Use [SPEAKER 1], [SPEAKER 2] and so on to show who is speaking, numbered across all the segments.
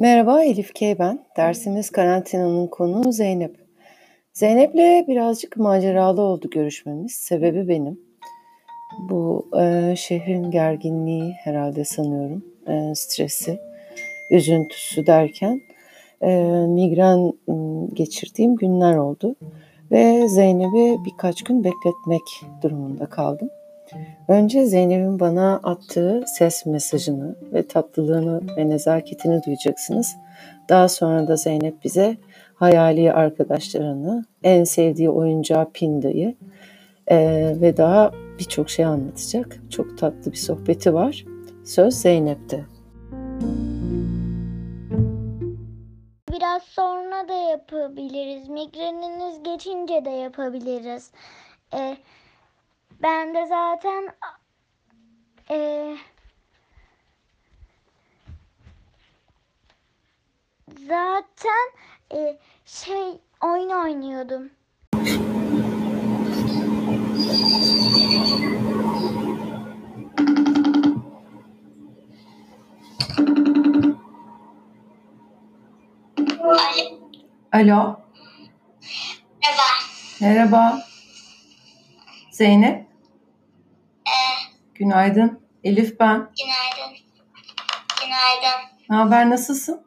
[SPEAKER 1] Merhaba, Elif K. ben. Dersimiz karantinanın konuğu Zeynep. Zeynep'le birazcık maceralı oldu görüşmemiz. Sebebi benim. Bu e, şehrin gerginliği herhalde sanıyorum. E, stresi, üzüntüsü derken e, migren m, geçirdiğim günler oldu. Ve Zeynep'i birkaç gün bekletmek durumunda kaldım. Önce Zeynep'in bana attığı ses mesajını ve tatlılığını ve nezaketini duyacaksınız. Daha sonra da Zeynep bize hayali arkadaşlarını, en sevdiği oyuncağı Pinda'yı eee, ve daha birçok şey anlatacak. Çok tatlı bir sohbeti var. Söz Zeynep'te.
[SPEAKER 2] Biraz sonra da yapabiliriz. Migreniniz geçince de yapabiliriz. Ee, ben de zaten ee, zaten ee, şey oyun oynuyordum.
[SPEAKER 1] Alo,
[SPEAKER 3] Merhaba.
[SPEAKER 1] merhaba. Zeynep,
[SPEAKER 3] Ee,
[SPEAKER 1] günaydın. Elif ben.
[SPEAKER 3] günaydın. Günaydın.
[SPEAKER 1] Ne haber, nasılsın?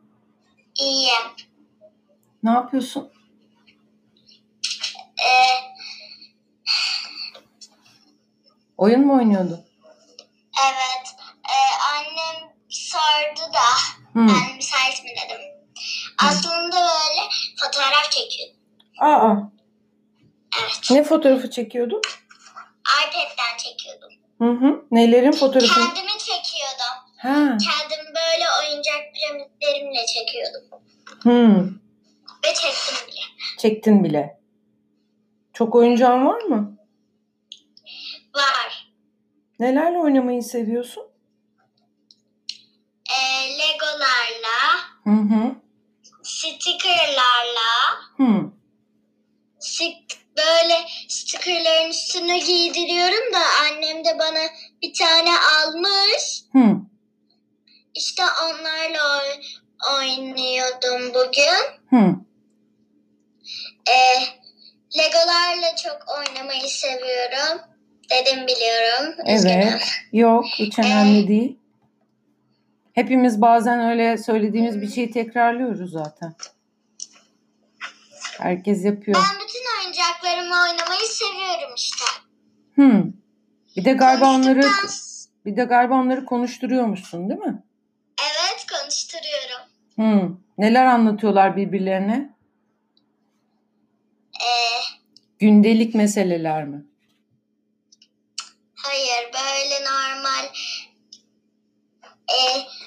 [SPEAKER 3] İyiyim.
[SPEAKER 1] Ne yapıyorsun?
[SPEAKER 3] Ee,
[SPEAKER 1] Oyun mu oynuyordun?
[SPEAKER 3] evet. Ee, annem sordu da
[SPEAKER 1] Hmm.
[SPEAKER 3] ben müsait mi dedim. Aslında böyle fotoğraf çekiyordum.
[SPEAKER 1] Aa,
[SPEAKER 3] Evet.
[SPEAKER 1] ne fotoğrafı çekiyordun?
[SPEAKER 3] iPad'den çekiyordum.
[SPEAKER 1] Hı hı. Nelerin fotoğrafı?
[SPEAKER 3] Kendimi çekiyordum.
[SPEAKER 1] Ha.
[SPEAKER 3] Kendimi böyle oyuncak piramitlerimle çekiyordum.
[SPEAKER 1] Hı.
[SPEAKER 3] Ve çektim bile.
[SPEAKER 1] Çektin bile. Çok oyuncağın var mı?
[SPEAKER 3] Var.
[SPEAKER 1] Nelerle oynamayı seviyorsun?
[SPEAKER 3] Ee, Legolarla,
[SPEAKER 1] Hı hı.
[SPEAKER 3] stickerlarla,
[SPEAKER 1] Hı.
[SPEAKER 3] sık böyle stickerların üstüne giydiriyorum da annem de bana bir tane almış.
[SPEAKER 1] Hı.
[SPEAKER 3] İşte onlarla oy- oynuyordum bugün.
[SPEAKER 1] Hı.
[SPEAKER 3] Ee, Legolarla çok oynamayı seviyorum. Dedim biliyorum. Üzgünüm.
[SPEAKER 1] Evet. Yok, hiç önemli değil. Hepimiz bazen öyle söylediğimiz bir şeyi tekrarlıyoruz zaten. Herkes yapıyor.
[SPEAKER 3] Ben bütün oyuncaklarımla oynamayı seviyorum işte.
[SPEAKER 1] Hı. Bir de galiba onları
[SPEAKER 3] Konuştuktan s-
[SPEAKER 1] bir de galiba onları konuşturuyormuşsun, değil mi?
[SPEAKER 3] Evet konuşturuyorum.
[SPEAKER 1] Hı. Hmm. Neler anlatıyorlar birbirlerine?
[SPEAKER 3] Ee,
[SPEAKER 1] Gündelik meseleler mi?
[SPEAKER 3] Hayır böyle normal e,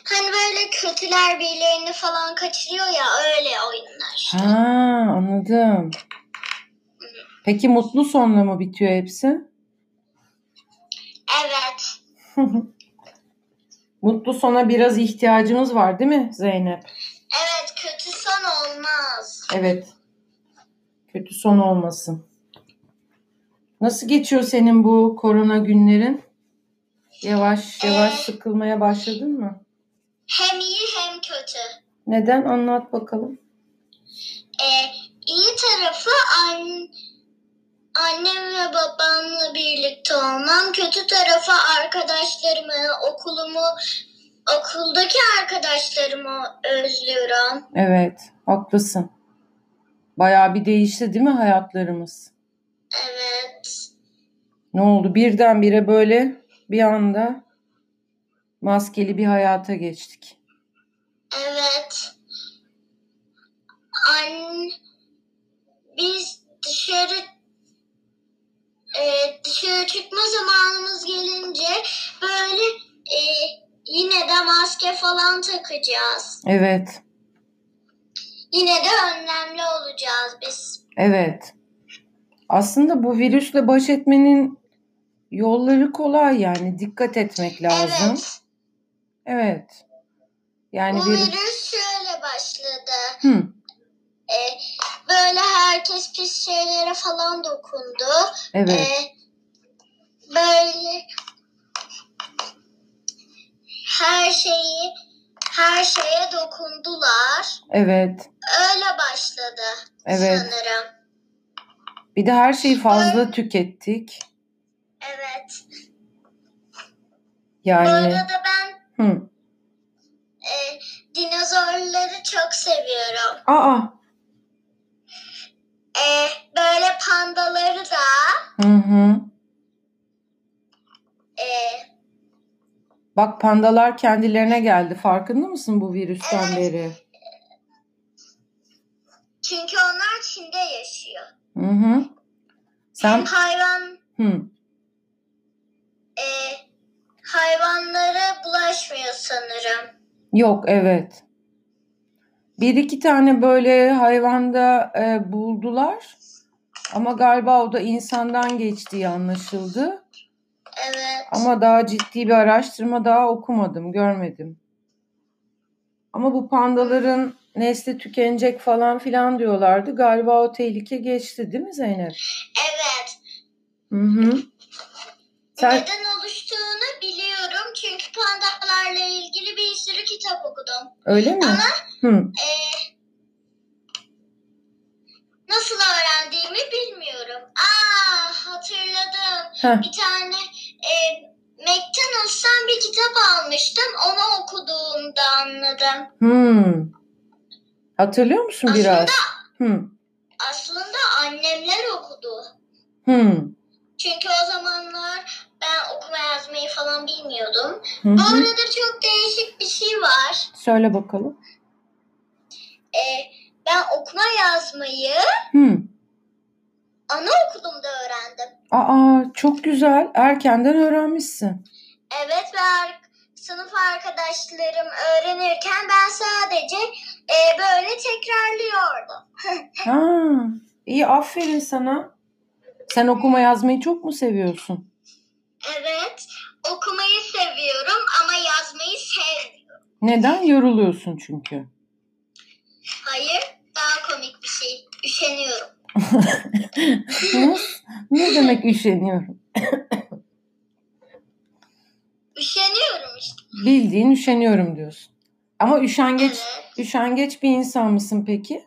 [SPEAKER 3] hani böyle kötüler birilerini falan kaçırıyor ya öyle oyunlar.
[SPEAKER 1] Ha anladım. Peki mutlu sonla mı bitiyor hepsi?
[SPEAKER 3] Evet
[SPEAKER 1] Mutlu sona biraz ihtiyacımız var değil mi Zeynep?
[SPEAKER 3] evet kötü son olmaz.
[SPEAKER 1] Evet. Kötü son olmasın. Nasıl geçiyor senin bu korona günlerin? Yavaş yavaş sıkılmaya başladın mı?
[SPEAKER 3] Hem iyi hem kötü.
[SPEAKER 1] Neden? Anlat bakalım.
[SPEAKER 3] E, iyi tarafı an, annem ve babamla birlikte olmam. Kötü tarafı arkadaşlarımı, okulumu, okuldaki arkadaşlarımı özlüyorum.
[SPEAKER 1] Evet, haklısın. Bayağı bir değişti değil mi hayatlarımız?
[SPEAKER 3] Evet.
[SPEAKER 1] Ne oldu? Birdenbire böyle bir anda maskeli bir hayata geçtik.
[SPEAKER 3] Evet. An biz dışarı e, dışarı çıkma zamanımız gelince böyle e, yine de maske falan takacağız.
[SPEAKER 1] Evet,
[SPEAKER 3] Yine de önlemli olacağız biz.
[SPEAKER 1] evet. Aslında bu virüsle baş etmenin yolları kolay yani dikkat etmek lazım.
[SPEAKER 3] Evet.
[SPEAKER 1] Evet. Yani
[SPEAKER 3] Bu
[SPEAKER 1] bir
[SPEAKER 3] virüs şöyle başladı.
[SPEAKER 1] Hı,
[SPEAKER 3] E, böyle herkes pis şeylere falan dokundu.
[SPEAKER 1] evet.
[SPEAKER 3] Ee, böyle her şeyi her şeye dokundular.
[SPEAKER 1] Evet.
[SPEAKER 3] Öyle başladı
[SPEAKER 1] Evet.
[SPEAKER 3] sanırım.
[SPEAKER 1] Bir de her şeyi fazla tükettik.
[SPEAKER 3] Evet. Bu
[SPEAKER 1] Yani
[SPEAKER 3] arada ben
[SPEAKER 1] hı.
[SPEAKER 3] e, dinozorları çok seviyorum.
[SPEAKER 1] Aa.
[SPEAKER 3] E, böyle pandaları da
[SPEAKER 1] Hı hı.
[SPEAKER 3] e,
[SPEAKER 1] Bak pandalar kendilerine geldi. Farkında mısın bu virüsten
[SPEAKER 3] Evet.
[SPEAKER 1] beri?
[SPEAKER 3] çünkü onlar Çin'de yaşıyor.
[SPEAKER 1] Hı hı. Sen
[SPEAKER 3] Hem hayvan
[SPEAKER 1] hı.
[SPEAKER 3] e, hayvanlara bulaşmıyor sanırım.
[SPEAKER 1] Yok evet. Bir iki tane böyle hayvanda e, buldular. Ama galiba o da insandan geçtiği anlaşıldı.
[SPEAKER 3] Evet.
[SPEAKER 1] Ama daha ciddi bir araştırma daha okumadım, görmedim. Ama bu pandaların nesli tükenecek falan filan diyorlardı. Galiba o tehlike geçti değil mi Zeynep?
[SPEAKER 3] Evet.
[SPEAKER 1] Hı hı. Sen
[SPEAKER 3] Neden oluştuğunu biliyorum çünkü pandalarla ilgili bir sürü kitap okudum.
[SPEAKER 1] öyle mi? Hı.
[SPEAKER 3] E, nasıl öğrendiğimi bilmiyorum. Aa hatırladım.
[SPEAKER 1] Heh.
[SPEAKER 3] bir tane e, McDonald's'tan bir kitap almıştım. Onu okuduğumda anladım.
[SPEAKER 1] Hmm. Hatırlıyor musun biraz? Hı.
[SPEAKER 3] Aslında annemler okudu.
[SPEAKER 1] Hı. hmm.
[SPEAKER 3] Çünkü o zamanlar ben okuma yazmayı falan bilmiyordum.
[SPEAKER 1] Hı
[SPEAKER 3] Bu
[SPEAKER 1] hı.
[SPEAKER 3] arada çok değişik bir şey var.
[SPEAKER 1] Söyle bakalım.
[SPEAKER 3] E, ben okuma yazmayı
[SPEAKER 1] Hı.
[SPEAKER 3] anaokulumda öğrendim.
[SPEAKER 1] Aa çok güzel. Erkenden öğrenmişsin.
[SPEAKER 3] Evet ve ar- sınıf arkadaşlarım öğrenirken ben sadece e, böyle tekrarlıyordum.
[SPEAKER 1] Ha. İyi aferin sana. Sen okuma yazmayı çok mu seviyorsun?
[SPEAKER 3] Evet, okumayı seviyorum ama yazmayı sevmiyorum.
[SPEAKER 1] Neden? Yoruluyorsun çünkü.
[SPEAKER 3] Hayır, daha komik bir şey. Üşeniyorum.
[SPEAKER 1] Nasıl? Ne demek üşeniyorum?
[SPEAKER 3] Üşeniyorum işte.
[SPEAKER 1] Bildiğin üşeniyorum diyorsun. Ama üşengeç,
[SPEAKER 3] Evet.
[SPEAKER 1] üşengeç bir insan mısın peki?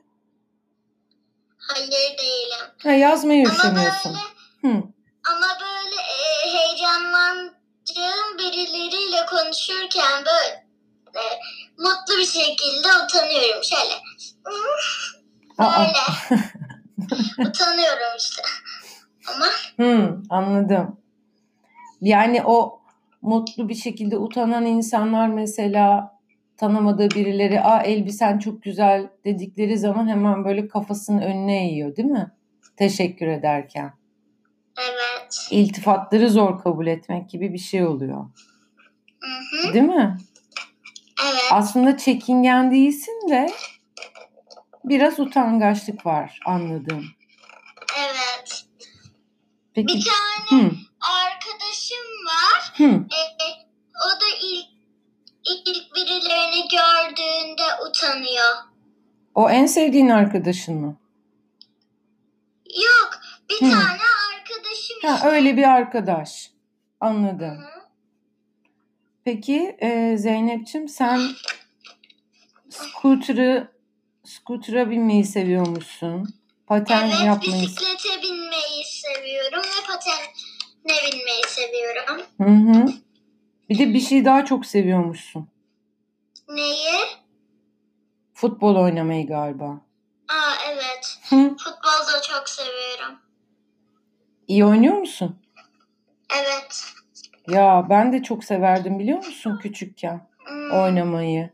[SPEAKER 3] Hayır değilim.
[SPEAKER 1] Ha, yazmaya
[SPEAKER 3] Ama
[SPEAKER 1] üşeniyorsun.
[SPEAKER 3] böyle
[SPEAKER 1] Hı.
[SPEAKER 3] ama böyle e, heyecanlandığım birileriyle konuşurken böyle e, mutlu bir şekilde utanıyorum şöyle.
[SPEAKER 1] Aa.
[SPEAKER 3] Böyle. utanıyorum işte. Ama
[SPEAKER 1] Hı, Hmm, anladım. Yani o mutlu bir şekilde utanan insanlar mesela tanımadığı birileri "Aa elbisen çok güzel." dedikleri zaman hemen böyle kafasının önüne eğiyor, değil mi? Teşekkür ederken.
[SPEAKER 3] evet.
[SPEAKER 1] İltifatları zor kabul etmek gibi bir şey oluyor.
[SPEAKER 3] Hı hı.
[SPEAKER 1] Değil mi?
[SPEAKER 3] Evet.
[SPEAKER 1] Aslında çekingen değilsin de biraz utangaçlık var anladım.
[SPEAKER 3] Evet.
[SPEAKER 1] Peki.
[SPEAKER 3] Bir tane
[SPEAKER 1] Hı,
[SPEAKER 3] arkadaşım var.
[SPEAKER 1] hı.
[SPEAKER 3] E, o da ilk ilk birilerini gördüğünde utanıyor.
[SPEAKER 1] O en sevdiğin arkadaşın mı?
[SPEAKER 3] Yok, bir
[SPEAKER 1] Hı.
[SPEAKER 3] tane arkadaşım işte.
[SPEAKER 1] Ha, öyle bir arkadaş. Anladım.
[SPEAKER 3] Hı.
[SPEAKER 1] Peki e, Zeynep'ciğim sen scooter'ı scooter'a binmeyi seviyormuşsun. Paten
[SPEAKER 3] Evet,
[SPEAKER 1] yapmayı.
[SPEAKER 3] bisiklete binmeyi seviyorum ve patenle binmeyi seviyorum.
[SPEAKER 1] Hı hı. Bir de bir şey daha çok seviyormuşsun.
[SPEAKER 3] Neyi?
[SPEAKER 1] Futbol oynamayı galiba.
[SPEAKER 3] Aa evet,
[SPEAKER 1] Hı.
[SPEAKER 3] futbol da çok seviyorum.
[SPEAKER 1] İyi oynuyor musun?
[SPEAKER 3] Evet.
[SPEAKER 1] Ya ben de çok severdim biliyor musun küçükken
[SPEAKER 3] Hmm,
[SPEAKER 1] oynamayı.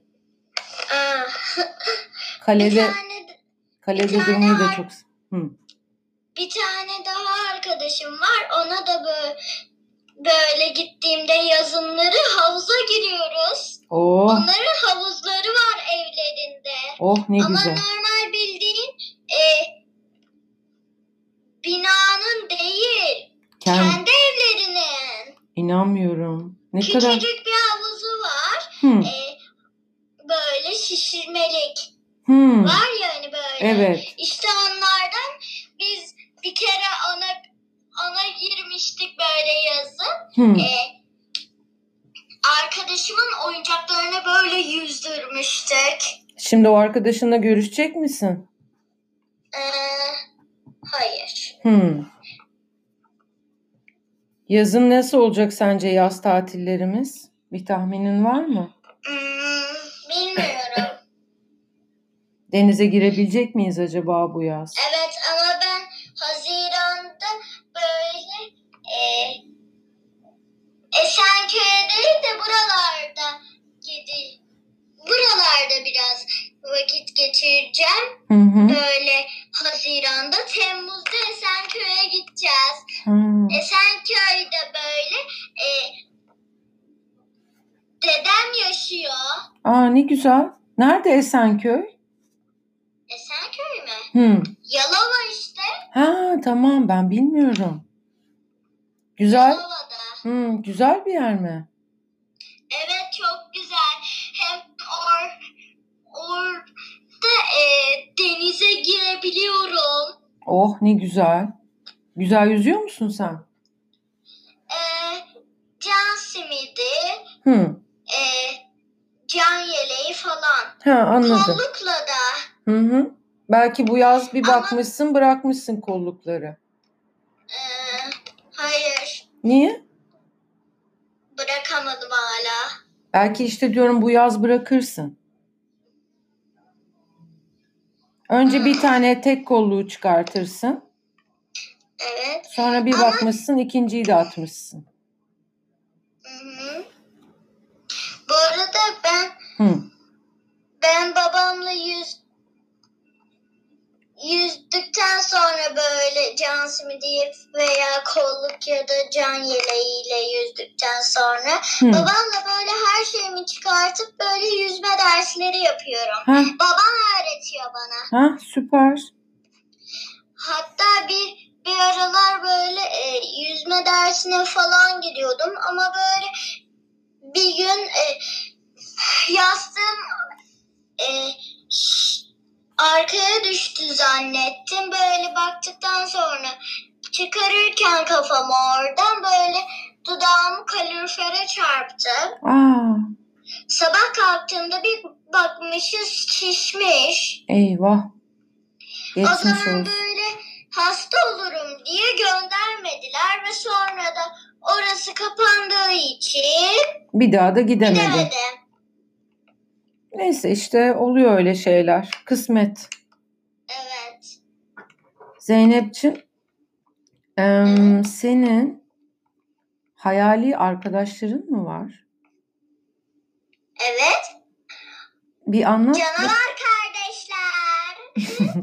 [SPEAKER 3] aa. bir,
[SPEAKER 1] Kalede
[SPEAKER 3] tane, d-
[SPEAKER 1] kalede
[SPEAKER 3] tane
[SPEAKER 1] durmayı da
[SPEAKER 3] var.
[SPEAKER 1] çok. se- Hı.
[SPEAKER 3] bir tane daha arkadaşım var. Ona da böyle, böyle gittiğimde yazınları havuza giriyoruz.
[SPEAKER 1] Oh,
[SPEAKER 3] Onların havuzları var evlerinde.
[SPEAKER 1] oh ne
[SPEAKER 3] Ama
[SPEAKER 1] güzel.
[SPEAKER 3] normal bildiğin e, binanın değil,
[SPEAKER 1] Kendi
[SPEAKER 3] kendi evlerinin.
[SPEAKER 1] inanmıyorum. Ne kadar.
[SPEAKER 3] Küçücük bir havuzu var.
[SPEAKER 1] Hı.
[SPEAKER 3] E, böyle şişirmelik
[SPEAKER 1] Hı.
[SPEAKER 3] var ya hani böyle.
[SPEAKER 1] Evet.
[SPEAKER 3] İşte onlardan biz bir kere ona ona girmiştik böyle yazın.
[SPEAKER 1] Hı.
[SPEAKER 3] E, arka arkadaşımın oyuncaklarını böyle yüzdürmüştük.
[SPEAKER 1] Şimdi o arkadaşınla görüşecek misin?
[SPEAKER 3] Ee, hayır.
[SPEAKER 1] Hmm. Yazın nasıl olacak sence yaz tatillerimiz? Bir tahminin var mı?
[SPEAKER 3] Hmm, bilmiyorum.
[SPEAKER 1] Denize girebilecek miyiz acaba bu yaz?
[SPEAKER 3] evet ama ben Haziran'da böyle e, Esenköy'e değil de buralarda gideyim. Buralarda biraz vakit geçireceğim.
[SPEAKER 1] Hı hı.
[SPEAKER 3] Böyle Haziran'da, Temmuz'da Esenköy'e gideceğiz.
[SPEAKER 1] Hı.
[SPEAKER 3] Esenköy'de böyle e, dedem yaşıyor.
[SPEAKER 1] Aa ne güzel. Nerede Esenköy?
[SPEAKER 3] Esenköy mü?
[SPEAKER 1] Hı.
[SPEAKER 3] Yalova işte.
[SPEAKER 1] Ha tamam ben bilmiyorum. Güzel.
[SPEAKER 3] Yalova'da.
[SPEAKER 1] Hı, güzel bir yer mi?
[SPEAKER 3] Evet çok güzel. Hem or, orada e, denize girebiliyorum.
[SPEAKER 1] Oh ne güzel. Güzel yüzüyor musun sen?
[SPEAKER 3] E, can simidi,
[SPEAKER 1] Hı.
[SPEAKER 3] e, can yeleği falan.
[SPEAKER 1] Ha anladım.
[SPEAKER 3] Kollukla da.
[SPEAKER 1] Hı hı. Belki bu yaz bir
[SPEAKER 3] Ama-
[SPEAKER 1] bakmışsın bırakmışsın kollukları.
[SPEAKER 3] Ee, hayır.
[SPEAKER 1] Niye?
[SPEAKER 3] Bırakamadım hala.
[SPEAKER 1] Belki işte diyorum bu yaz bırakırsın. Önce bir tane tek kolluğu çıkartırsın.
[SPEAKER 3] Evet.
[SPEAKER 1] Sonra bir
[SPEAKER 3] Ama-
[SPEAKER 1] bakmışsın ikinciyi de atmışsın.
[SPEAKER 3] Hı-hı. Bu arada ben
[SPEAKER 1] Hı.
[SPEAKER 3] ben babamla yüz yüzdükten sonra böyle can simidi veya kolluk ya da can yeleğiyle yüzdükten sonra
[SPEAKER 1] Hı.
[SPEAKER 3] babamla böyle her şeyimi çıkartıp böyle yüzme dersleri yapıyorum.
[SPEAKER 1] Ha,
[SPEAKER 3] Babam öğretiyor bana.
[SPEAKER 1] ha süper.
[SPEAKER 3] Hatta bir bir aralar böyle e, yüzme dersine falan gidiyordum ama böyle bir gün e, yastığım e, ş- arkaya düştü zannettim. Böyle baktıktan sonra çıkarırken kafamı oradan böyle dudağım kalorifere çarptı.
[SPEAKER 1] Aa,
[SPEAKER 3] Sabah kalktığımda bir bakmışız şişmiş.
[SPEAKER 1] eyvah.
[SPEAKER 3] o
[SPEAKER 1] Geçmiş
[SPEAKER 3] zaman
[SPEAKER 1] olsun.
[SPEAKER 3] böyle hasta olurum diye göndermediler ve sonra da orası kapandığı için
[SPEAKER 1] Bir daha da gidemedi.
[SPEAKER 3] gidemedim.
[SPEAKER 1] Neyse işte oluyor öyle şeyler. Kısmet.
[SPEAKER 3] Evet.
[SPEAKER 1] Zeynep'ciğim, em, senin hayali arkadaşların mı var?
[SPEAKER 3] Evet.
[SPEAKER 1] Bir anlat.
[SPEAKER 3] Canavar kardeşler.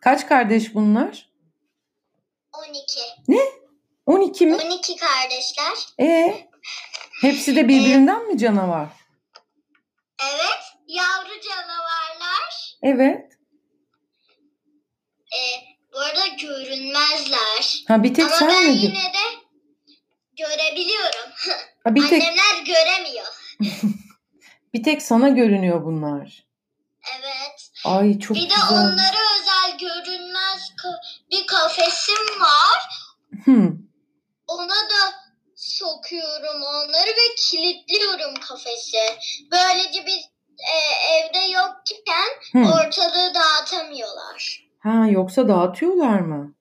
[SPEAKER 1] Kaç kardeş bunlar?
[SPEAKER 3] 12.
[SPEAKER 1] 12 mi?
[SPEAKER 3] 12 kardeşler.
[SPEAKER 1] E Hepsi de birbirinden mi canavar?
[SPEAKER 3] Evet. Yavru canavarlar.
[SPEAKER 1] Evet.
[SPEAKER 3] Ee, bu arada görünmezler.
[SPEAKER 1] Ha bir tek
[SPEAKER 3] Ama ben
[SPEAKER 1] sen mi? gö-
[SPEAKER 3] yine de görebiliyorum.
[SPEAKER 1] Ha, bir tek
[SPEAKER 3] Annemler göremiyor.
[SPEAKER 1] bir tek sana görünüyor bunlar.
[SPEAKER 3] Evet.
[SPEAKER 1] Ay çok
[SPEAKER 3] Bir de
[SPEAKER 1] güzel.
[SPEAKER 3] onlara özel görünmez ka- bir kafesim var.
[SPEAKER 1] Hı.
[SPEAKER 3] Ona da sokuyorum onları ve kilitliyorum kafesi. Böylece biz e, evde yokken
[SPEAKER 1] Hı.
[SPEAKER 3] ortalığı dağıtamıyorlar.
[SPEAKER 1] Ha yoksa dağıtıyorlar mı?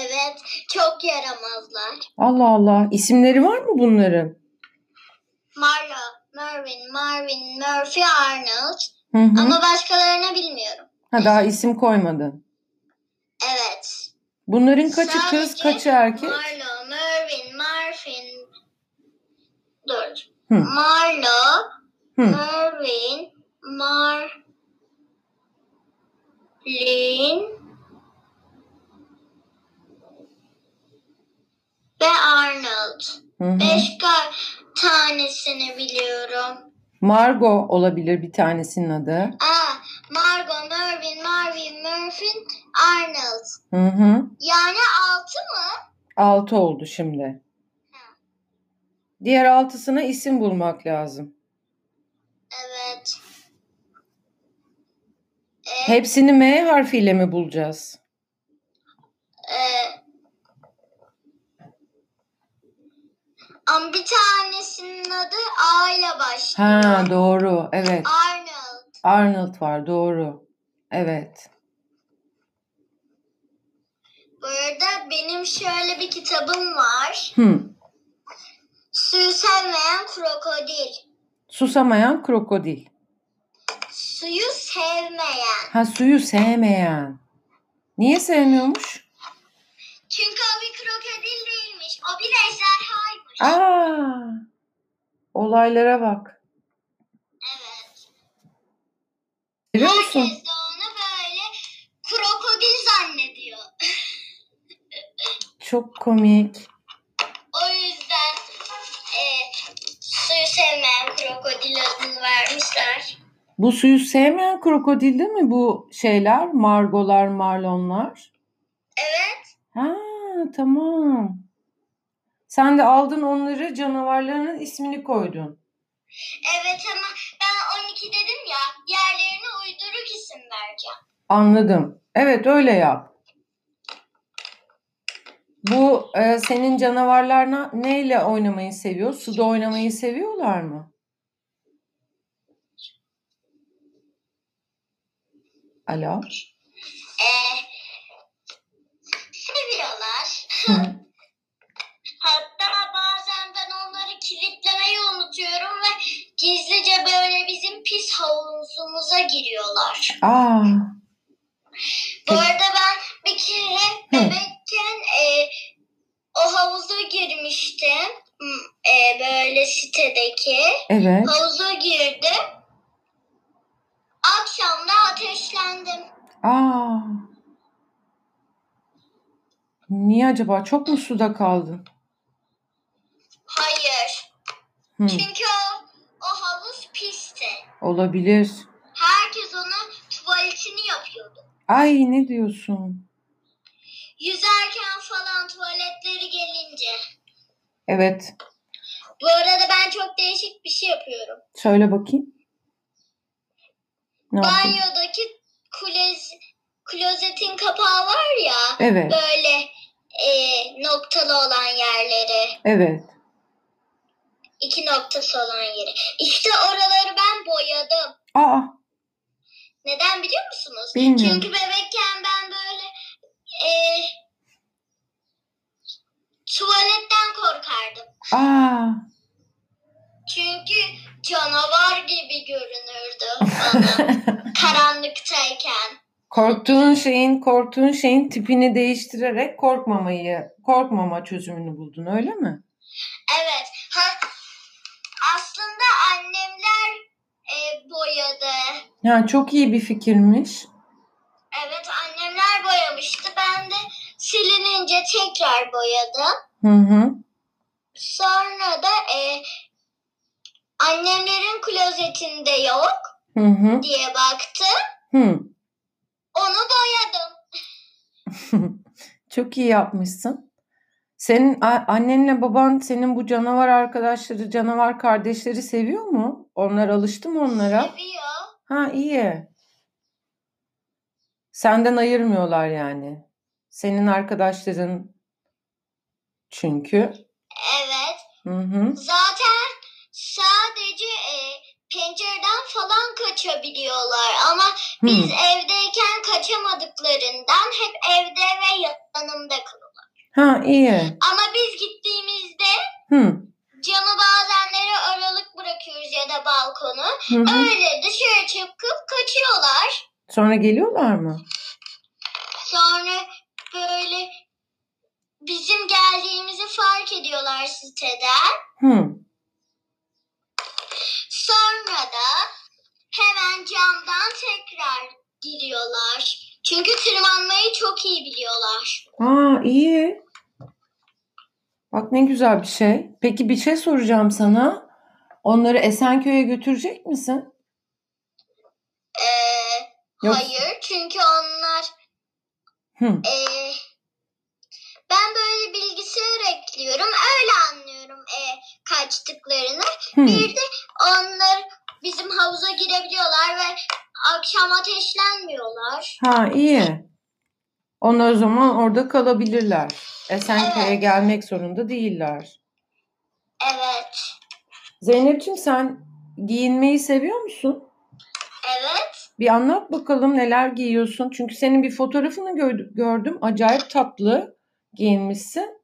[SPEAKER 3] Evet, çok yaramazlar.
[SPEAKER 1] Allah Allah. İsimleri var mı bunların?
[SPEAKER 3] Marla, Mervin, Marvin, Murphy, Arnold.
[SPEAKER 1] Hı hı.
[SPEAKER 3] Ama başkalarını bilmiyorum.
[SPEAKER 1] Ha daha isim koymadın.
[SPEAKER 3] Evet.
[SPEAKER 1] Bunların kaçı kız,
[SPEAKER 3] Sadece
[SPEAKER 1] kaçı erkek?
[SPEAKER 3] Marlo, Mervin, Marvin. Dur.
[SPEAKER 1] Hı.
[SPEAKER 3] Marlo,
[SPEAKER 1] Hı.
[SPEAKER 3] Mervin, Marlin ve Arnold.
[SPEAKER 1] Hı hı.
[SPEAKER 3] Beş kar tanesini biliyorum.
[SPEAKER 1] Margot olabilir bir tanesinin adı.
[SPEAKER 3] Aa, Margo, Mervin, Marvin, Mervin, Arnold.
[SPEAKER 1] Hı hı.
[SPEAKER 3] Yani altı mı?
[SPEAKER 1] Altı oldu şimdi. Diğer altısına isim bulmak lazım.
[SPEAKER 3] Evet. Ee,
[SPEAKER 1] Hepsini M harfiyle mi bulacağız?
[SPEAKER 3] Ee, Ama bir tanesinin adı A ile başlıyor.
[SPEAKER 1] Ha doğru. Evet.
[SPEAKER 3] Arnold.
[SPEAKER 1] Arnold var. Doğru. Evet.
[SPEAKER 3] Bu arada benim şöyle bir kitabım var.
[SPEAKER 1] Hmm.
[SPEAKER 3] Süsemeyen krokodil.
[SPEAKER 1] Susamayan krokodil.
[SPEAKER 3] Suyu sevmeyen.
[SPEAKER 1] Ha suyu sevmeyen. Niye sevmiyormuş?
[SPEAKER 3] Çünkü o bir krokodil değilmiş. O bir ejderhaymış.
[SPEAKER 1] Aa! Olaylara bak.
[SPEAKER 3] Evet.
[SPEAKER 1] Biliyor musun?
[SPEAKER 3] Herkes de onu böyle krokodil zannediyor.
[SPEAKER 1] Çok komik.
[SPEAKER 3] O yüzden e, suyu sevmeyen krokodil adını vermişler.
[SPEAKER 1] Bu suyu sevmeyen krokodil değil mi bu şeyler? Margolar, marlonlar.
[SPEAKER 3] Evet.
[SPEAKER 1] Ha tamam. Sen de aldın onları canavarlarının ismini koydun.
[SPEAKER 3] Evet ama ben 12 dedim ya. Yerlerine uyduruk isim vereceğim.
[SPEAKER 1] Anladım. Evet öyle yap. Bu e, senin canavarlar na- neyle oynamayı seviyor? Suda oynamayı seviyorlar mı? Alo.
[SPEAKER 3] E, seviyorlar.
[SPEAKER 1] Hı.
[SPEAKER 3] Hatta bazen ben onları kilitlemeyi unutuyorum ve gizlice böyle bizim pis havuzumuza giriyorlar.
[SPEAKER 1] Aa,
[SPEAKER 3] Bu arada ben bir kere bebekken e, o havuza girmiştim. M- E, böyle sitedeki.
[SPEAKER 1] evet.
[SPEAKER 3] Havuza girdim. Akşam da ateşlendim.
[SPEAKER 1] Aa. Niye acaba? Çok mu suda kaldın?
[SPEAKER 3] Hayır.
[SPEAKER 1] Hı,
[SPEAKER 3] Çünkü o, o havuz pisti.
[SPEAKER 1] olabilir.
[SPEAKER 3] Herkes onun tuvaletini yapıyordu.
[SPEAKER 1] Ay ne diyorsun?
[SPEAKER 3] Yüzerken falan tuvaletleri gelince.
[SPEAKER 1] Evet.
[SPEAKER 3] Bu arada ben çok değişik bir şey yapıyorum.
[SPEAKER 1] Söyle bakayım. Ne yaptın?
[SPEAKER 3] Banyodaki klez, klozetin kapağı var ya.
[SPEAKER 1] Evet,
[SPEAKER 3] Böyle e, noktalı olan yerleri.
[SPEAKER 1] evet.
[SPEAKER 3] iki noktası olan yeri. İşte oraları ben boyadım.
[SPEAKER 1] Aa,
[SPEAKER 3] Neden biliyor musunuz?
[SPEAKER 1] Bilmiyorum.
[SPEAKER 3] Çünkü bebekken ben böyle e, tuvaletten korkardım.
[SPEAKER 1] aa.
[SPEAKER 3] Çünkü canavar gibi görünürdü bana karanlıktayken.
[SPEAKER 1] korktuğun şeyin, korktuğun şeyin tipini değiştirerek korkmamayı, korkmama çözümünü buldun öyle mi?
[SPEAKER 3] Evet. Ha, aslında annemler e, boyadı.
[SPEAKER 1] Yani çok iyi bir fikirmiş.
[SPEAKER 3] Evet annemler boyamıştı. Ben de silinince tekrar boyadım.
[SPEAKER 1] Hı hı.
[SPEAKER 3] Sonra da e, annemlerin klozetinde yok
[SPEAKER 1] Hı hı.
[SPEAKER 3] diye baktı.
[SPEAKER 1] Hı.
[SPEAKER 3] Onu boyadım.
[SPEAKER 1] Çok iyi yapmışsın. Senin a- annenle baban senin bu canavar arkadaşları, canavar kardeşleri seviyor mu? Onlar alıştı mı onlara?
[SPEAKER 3] Seviyor.
[SPEAKER 1] Ha iyi. Senden ayırmıyorlar yani. Senin arkadaşların çünkü.
[SPEAKER 3] Evet.
[SPEAKER 1] Hı hı.
[SPEAKER 3] Zaten sadece e, pencereden falan kaçabiliyorlar ama
[SPEAKER 1] Hı.
[SPEAKER 3] biz evdeyken kaçamadıklarından hep evde ve yanımda kalıyor.
[SPEAKER 1] Ha iyi.
[SPEAKER 3] Ama biz gittiğimizde
[SPEAKER 1] Hı.
[SPEAKER 3] camı bazenleri aralık bırakıyoruz ya da balkonu.
[SPEAKER 1] Hı hı.
[SPEAKER 3] Öyle dışarı çıkıp kaçıyorlar.
[SPEAKER 1] Sonra geliyorlar mı?
[SPEAKER 3] Sonra böyle bizim geldiğimizi fark ediyorlar siteden.
[SPEAKER 1] Hı.
[SPEAKER 3] Sonra da hemen camdan tekrar giriyorlar. Çünkü tırmanmayı çok iyi biliyorlar.
[SPEAKER 1] Aa iyi. Bak ne güzel bir şey. Peki bir şey soracağım sana. Onları Esenköy'e götürecek misin?
[SPEAKER 3] Ee,
[SPEAKER 1] Yok.
[SPEAKER 3] hayır çünkü onlar
[SPEAKER 1] Hı.
[SPEAKER 3] ee, ben böyle bilgisayar ekliyorum. Öyle anlıyorum ee, kaçtıklarını.
[SPEAKER 1] Hı.
[SPEAKER 3] Bir de onlar bizim havuza girebiliyorlar ve akşam ateşlenmiyorlar.
[SPEAKER 1] Ha iyi. Onlar o zaman orada kalabilirler. Esenköy'e
[SPEAKER 3] Evet.
[SPEAKER 1] gelmek zorunda değiller. Zeynep'ciğim sen giyinmeyi seviyor musun?
[SPEAKER 3] Evet.
[SPEAKER 1] Bir anlat bakalım neler giyiyorsun. Çünkü senin bir fotoğrafını gö- gördüm. Acayip tatlı giyinmişsin.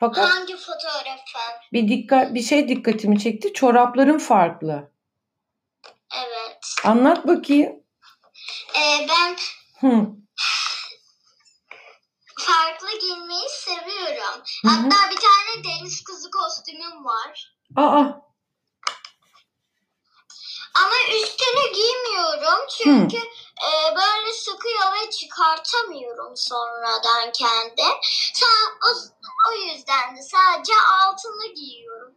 [SPEAKER 1] Fakat
[SPEAKER 3] Hangi fotoğrafın?
[SPEAKER 1] bir dikkat bir şey dikkatimi çekti. Çorapların farklı.
[SPEAKER 3] Evet.
[SPEAKER 1] Anlat bakayım.
[SPEAKER 3] Ee, ben
[SPEAKER 1] Hı.
[SPEAKER 3] farklı giyinmeyi seviyorum.
[SPEAKER 1] Hı hı.
[SPEAKER 3] Hatta bir tane deniz kızı kostümüm var.
[SPEAKER 1] Aa,
[SPEAKER 3] Ama üstünü giymiyorum çünkü e, böyle sıkıyor ve çıkartamıyorum sonradan kendi. Sa- o, o yüzden de sadece altını giyiyorum.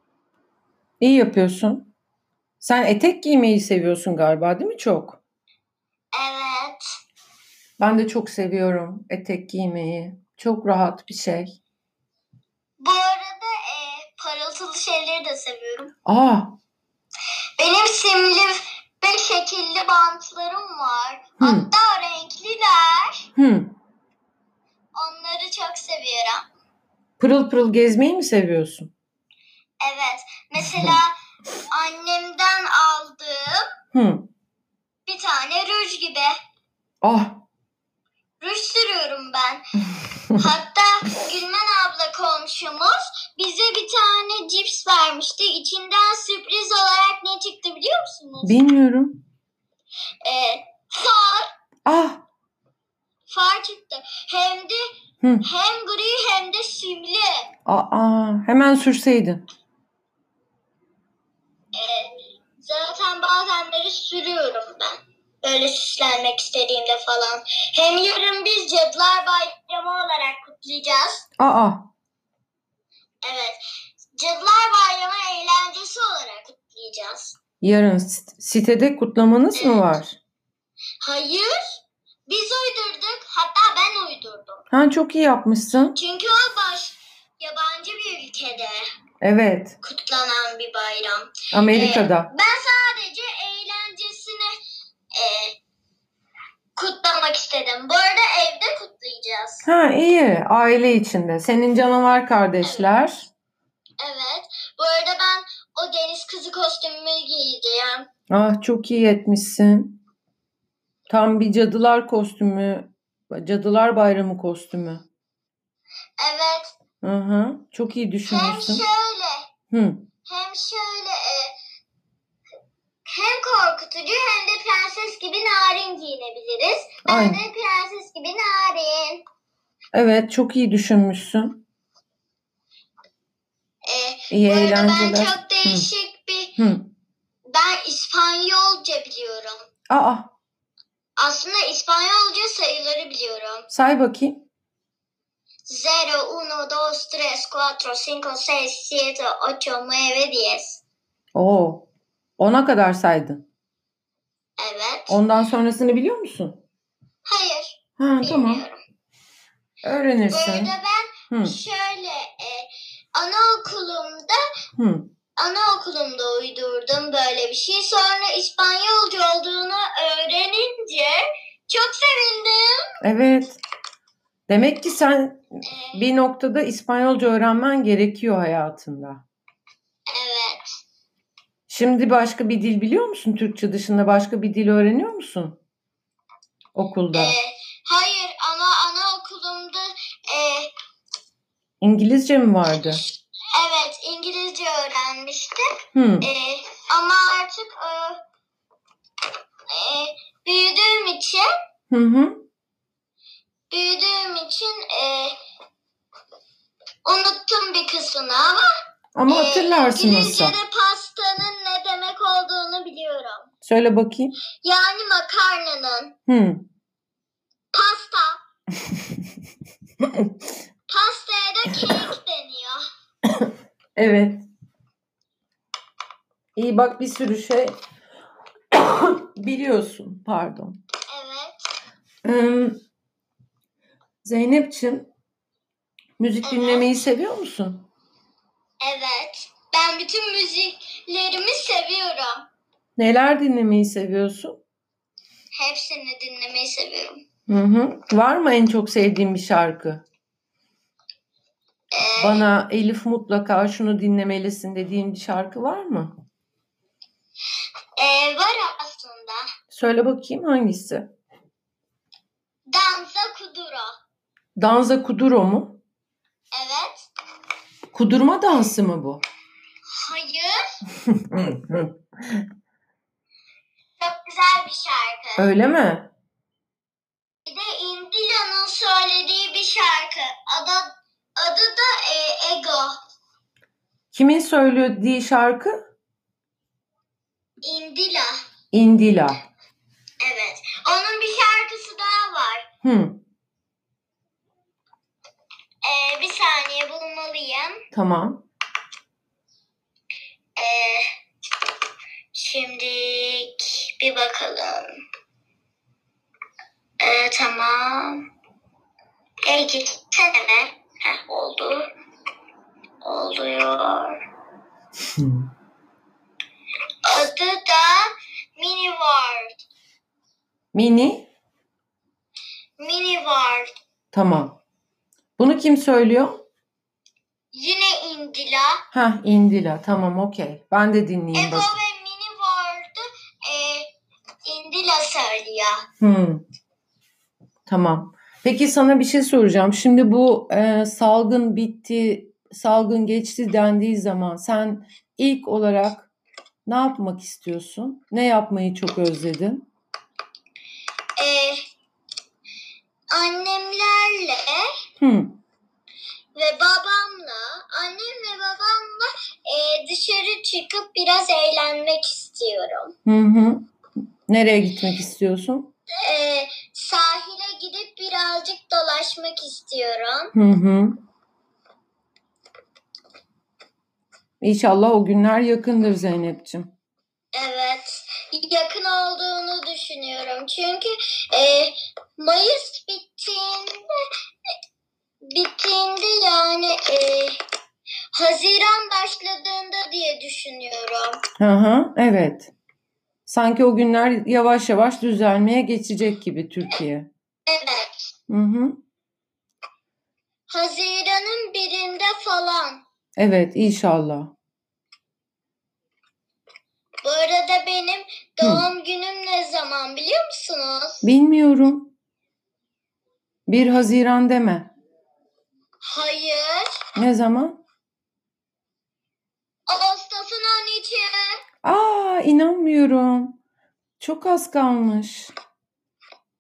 [SPEAKER 1] iyi yapıyorsun. Sen etek giymeyi seviyorsun galiba, değil mi çok?
[SPEAKER 3] Evet.
[SPEAKER 1] Ben de çok seviyorum etek giymeyi. Çok rahat bir şey.
[SPEAKER 3] Bu arada e, parıltılı şeyleri de seviyorum.
[SPEAKER 1] Aa,
[SPEAKER 3] Benim simli ve şekilli bantlarım var.
[SPEAKER 1] Hı.
[SPEAKER 3] Hatta renkliler.
[SPEAKER 1] hı.
[SPEAKER 3] Onları çok seviyorum.
[SPEAKER 1] Pırıl pırıl gezmeyi mi seviyorsun?
[SPEAKER 3] Evet. Mesela annemden aldığım
[SPEAKER 1] Hı.
[SPEAKER 3] bir tane ruj gibi.
[SPEAKER 1] Ah,
[SPEAKER 3] Ruj sürüyorum ben. Hatta Gülmen abla komşumuz bize bir tane cips vermişti. İçinden sürpriz olarak ne çıktı biliyor musunuz?
[SPEAKER 1] bilmiyorum.
[SPEAKER 3] Ee, far.
[SPEAKER 1] Ah,
[SPEAKER 3] Far çıktı. Hem de
[SPEAKER 1] Hı.
[SPEAKER 3] hem gri hem de simli.
[SPEAKER 1] aa, hemen sürseydin.
[SPEAKER 3] Zaten bazenleri sürüyorum ben. Böyle süslenmek istediğimde falan. Hem yarın biz Cadılar Bayramı olarak kutlayacağız.
[SPEAKER 1] Aa,
[SPEAKER 3] Evet. Cadılar Bayramı eğlencesi olarak kutlayacağız.
[SPEAKER 1] yarın sit- sitede kutlamanız mı var?
[SPEAKER 3] Hayır. Biz uydurduk. Hatta ben uydurdum.
[SPEAKER 1] Ha, çok iyi yapmışsın.
[SPEAKER 3] Çünkü o baş yabancı bir ülkede
[SPEAKER 1] Evet,
[SPEAKER 3] kutlanan bir bayram.
[SPEAKER 1] Amerika'da.
[SPEAKER 3] Ben sadece eğlencesini e, kutlamak istedim. Bu arada evde kutlayacağız.
[SPEAKER 1] Ha, iyi. Aile içinde. Senin canavar kardeşler.
[SPEAKER 3] Evet. Bu arada ben o deniz kızı kostümümü giyeceğim.
[SPEAKER 1] Ah çok iyi etmişsin. Tam bir cadılar kostümü, cadılar bayramı kostümü.
[SPEAKER 3] Evet.
[SPEAKER 1] Hı hı. Çok iyi
[SPEAKER 3] Hem
[SPEAKER 1] düşünmüşsün.
[SPEAKER 3] şöyle
[SPEAKER 1] Hı.
[SPEAKER 3] hem şöyle e, hem korkutucu hem de prenses gibi narin giyinebiliriz. Ben
[SPEAKER 1] Aynen.
[SPEAKER 3] de prenses gibi narin.
[SPEAKER 1] Evet çok iyi düşünmüşsün.
[SPEAKER 3] E,
[SPEAKER 1] İyi
[SPEAKER 3] bu arada ben
[SPEAKER 1] eğlenceler.
[SPEAKER 3] çok değişik bir
[SPEAKER 1] Hı.
[SPEAKER 3] ben İspanyolca biliyorum.
[SPEAKER 1] Aa
[SPEAKER 3] Aslında İspanyolca sayıları biliyorum.
[SPEAKER 1] say bakayım.
[SPEAKER 3] 0, 1, 2, 3, 4, 5, 6, 7, 8, 9, 10.
[SPEAKER 1] Oo. Ona kadar saydın.
[SPEAKER 3] Evet.
[SPEAKER 1] Ondan sonrasını biliyor musun?
[SPEAKER 3] Hayır.
[SPEAKER 1] Ha tamam.
[SPEAKER 3] Bilmiyorum. Bu
[SPEAKER 1] Öğrenirsin.
[SPEAKER 3] arada ben
[SPEAKER 1] Hı.
[SPEAKER 3] şöyle e, anaokulumda
[SPEAKER 1] Hı.
[SPEAKER 3] anaokulumda uydurdum böyle bir şey. Sonra İspanyolca olduğunu öğrenince çok sevindim.
[SPEAKER 1] Evet. Demek ki sen
[SPEAKER 3] E,
[SPEAKER 1] bir noktada İspanyolca öğrenmen gerekiyor hayatında.
[SPEAKER 3] evet.
[SPEAKER 1] Şimdi başka bir dil biliyor musun? Türkçe dışında başka bir dil öğreniyor musun? Okulda.
[SPEAKER 3] E, hayır ama anaokulumda e,
[SPEAKER 1] İngilizce mi vardı?
[SPEAKER 3] evet İngilizce öğrenmiştim.
[SPEAKER 1] Hı.
[SPEAKER 3] Ee, ama artık e, e, büyüdüğüm için
[SPEAKER 1] Hı hı.
[SPEAKER 3] büyüdüğüm için e, unuttum bir kısmını ama
[SPEAKER 1] Ama
[SPEAKER 3] e,
[SPEAKER 1] hatırlarsın olsa.
[SPEAKER 3] İngilizce'de pastanın ne demek olduğunu biliyorum.
[SPEAKER 1] Söyle bakayım.
[SPEAKER 3] Yani makarnanın
[SPEAKER 1] Hı.
[SPEAKER 3] pasta pastaya da kek deniyor.
[SPEAKER 1] Evet. İyi bak bir sürü şey biliyorsun. Pardon.
[SPEAKER 3] Evet.
[SPEAKER 1] Ee, Zeynep'ciğim müzik
[SPEAKER 3] Evet.
[SPEAKER 1] dinlemeyi seviyor musun?
[SPEAKER 3] Evet. Ben bütün müziklerimi seviyorum.
[SPEAKER 1] Neler dinlemeyi seviyorsun?
[SPEAKER 3] Hepsini dinlemeyi seviyorum.
[SPEAKER 1] Hı hı. Var mı en çok sevdiğin bir şarkı?
[SPEAKER 3] Ee,
[SPEAKER 1] Bana Elif mutlaka şunu dinlemelisin dediğin bir şarkı var mı?
[SPEAKER 3] e, var aslında.
[SPEAKER 1] Söyle bakayım hangisi?
[SPEAKER 3] Danza kuduro.
[SPEAKER 1] Danza kuduro mu?
[SPEAKER 3] Evet.
[SPEAKER 1] Kudurma dansı mı bu?
[SPEAKER 3] Hayır. Çok güzel bir şarkı.
[SPEAKER 1] Öyle mi?
[SPEAKER 3] Bir de Indila'nın söylediği bir şarkı. Adı, adı da e, Ego.
[SPEAKER 1] Kimin söylediği şarkı?
[SPEAKER 3] Indila.
[SPEAKER 1] Indila.
[SPEAKER 3] Evet. Onun bir şarkısı daha var.
[SPEAKER 1] Hı,
[SPEAKER 3] E, bir saniye bulmalıyım.
[SPEAKER 1] tamam.
[SPEAKER 3] E, şimdi bir bakalım. E, tamam. E, gitsene be. Heh, oldu. Oluyor. Adı da Mini World.
[SPEAKER 1] Mini.
[SPEAKER 3] Mini World.
[SPEAKER 1] Tamam. Bunu kim söylüyor?
[SPEAKER 3] Yine Indila.
[SPEAKER 1] Ha Indila. Tamam okey. Ben de dinleyeyim
[SPEAKER 3] Ego
[SPEAKER 1] bak.
[SPEAKER 3] ve Mini World'u e, Indila söylüyor.
[SPEAKER 1] Hmm. Tamam. Peki sana bir şey soracağım. Şimdi bu e, salgın bitti, salgın geçti dendiği zaman sen ilk olarak ne yapmak istiyorsun? Ne yapmayı çok özledin?
[SPEAKER 3] E, annemlerle
[SPEAKER 1] Hmm.
[SPEAKER 3] ve babamla, annem ve babamla e, dışarı çıkıp biraz eğlenmek istiyorum.
[SPEAKER 1] Hı hı. Nereye gitmek istiyorsun?
[SPEAKER 3] E, sahile gidip birazcık dolaşmak istiyorum.
[SPEAKER 1] Hı hı. İnşallah o günler yakındır Zeynep'ciğim.
[SPEAKER 3] Evet, yakın olduğunu düşünüyorum. Çünkü e, Mayıs bittiğinde bittiğinde yani e, Haziran başladığında diye düşünüyorum.
[SPEAKER 1] Hı hı, evet. Sanki o günler yavaş yavaş düzelmeye geçecek gibi Türkiye.
[SPEAKER 3] Evet,
[SPEAKER 1] Hı hı.
[SPEAKER 3] Haziran'ın birinde falan.
[SPEAKER 1] Evet, inşallah.
[SPEAKER 3] Bu arada benim doğum günüm ne zaman biliyor musunuz?
[SPEAKER 1] Bilmiyorum. 1 Haziran deme.
[SPEAKER 3] Hayır,
[SPEAKER 1] Ne zaman?
[SPEAKER 3] Ağustos'un 13'ü.
[SPEAKER 1] Aa, inanmıyorum. Çok az kalmış.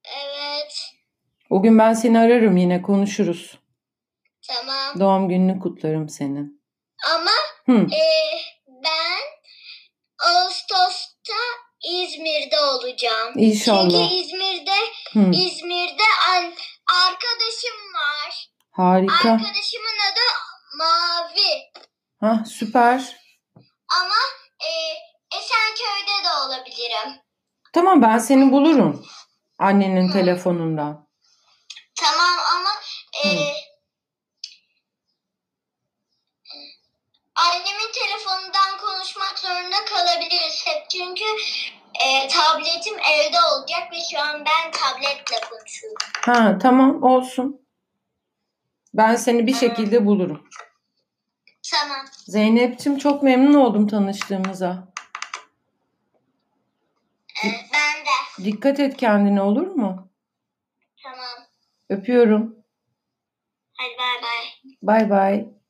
[SPEAKER 3] Evet,
[SPEAKER 1] O gün ben seni ararım yine konuşuruz.
[SPEAKER 3] tamam.
[SPEAKER 1] Doğum gününü kutlarım senin.
[SPEAKER 3] Ama
[SPEAKER 1] Hı.
[SPEAKER 3] Ee, ben Ağustos'ta İzmir'de olacağım.
[SPEAKER 1] İnşallah.
[SPEAKER 3] Çünkü İzmir'de
[SPEAKER 1] Hı.
[SPEAKER 3] İzmir'de an, arkadaşım var.
[SPEAKER 1] Harika.
[SPEAKER 3] Arkadaşımın adı Mavi.
[SPEAKER 1] Ha, süper.
[SPEAKER 3] Ama e, Esenköy'de de olabilirim.
[SPEAKER 1] Tamam ben seni bulurum. Annenin telefonundan.
[SPEAKER 3] Tamam ama e,
[SPEAKER 1] Hı.
[SPEAKER 3] annemin telefonundan konuşmak zorunda kalabiliriz hep. Çünkü e, tabletim evde olacak ve şu an ben tabletle konuşuyorum.
[SPEAKER 1] Ha, tamam olsun. Ben seni bir şekilde bulurum.
[SPEAKER 3] Tamam.
[SPEAKER 1] Zeynep'ciğim çok memnun oldum tanıştığımıza.
[SPEAKER 3] E, ben de.
[SPEAKER 1] Dikkat et kendine olur mu?
[SPEAKER 3] Tamam.
[SPEAKER 1] Öpüyorum.
[SPEAKER 3] Hadi bay bay.
[SPEAKER 1] Bay bay.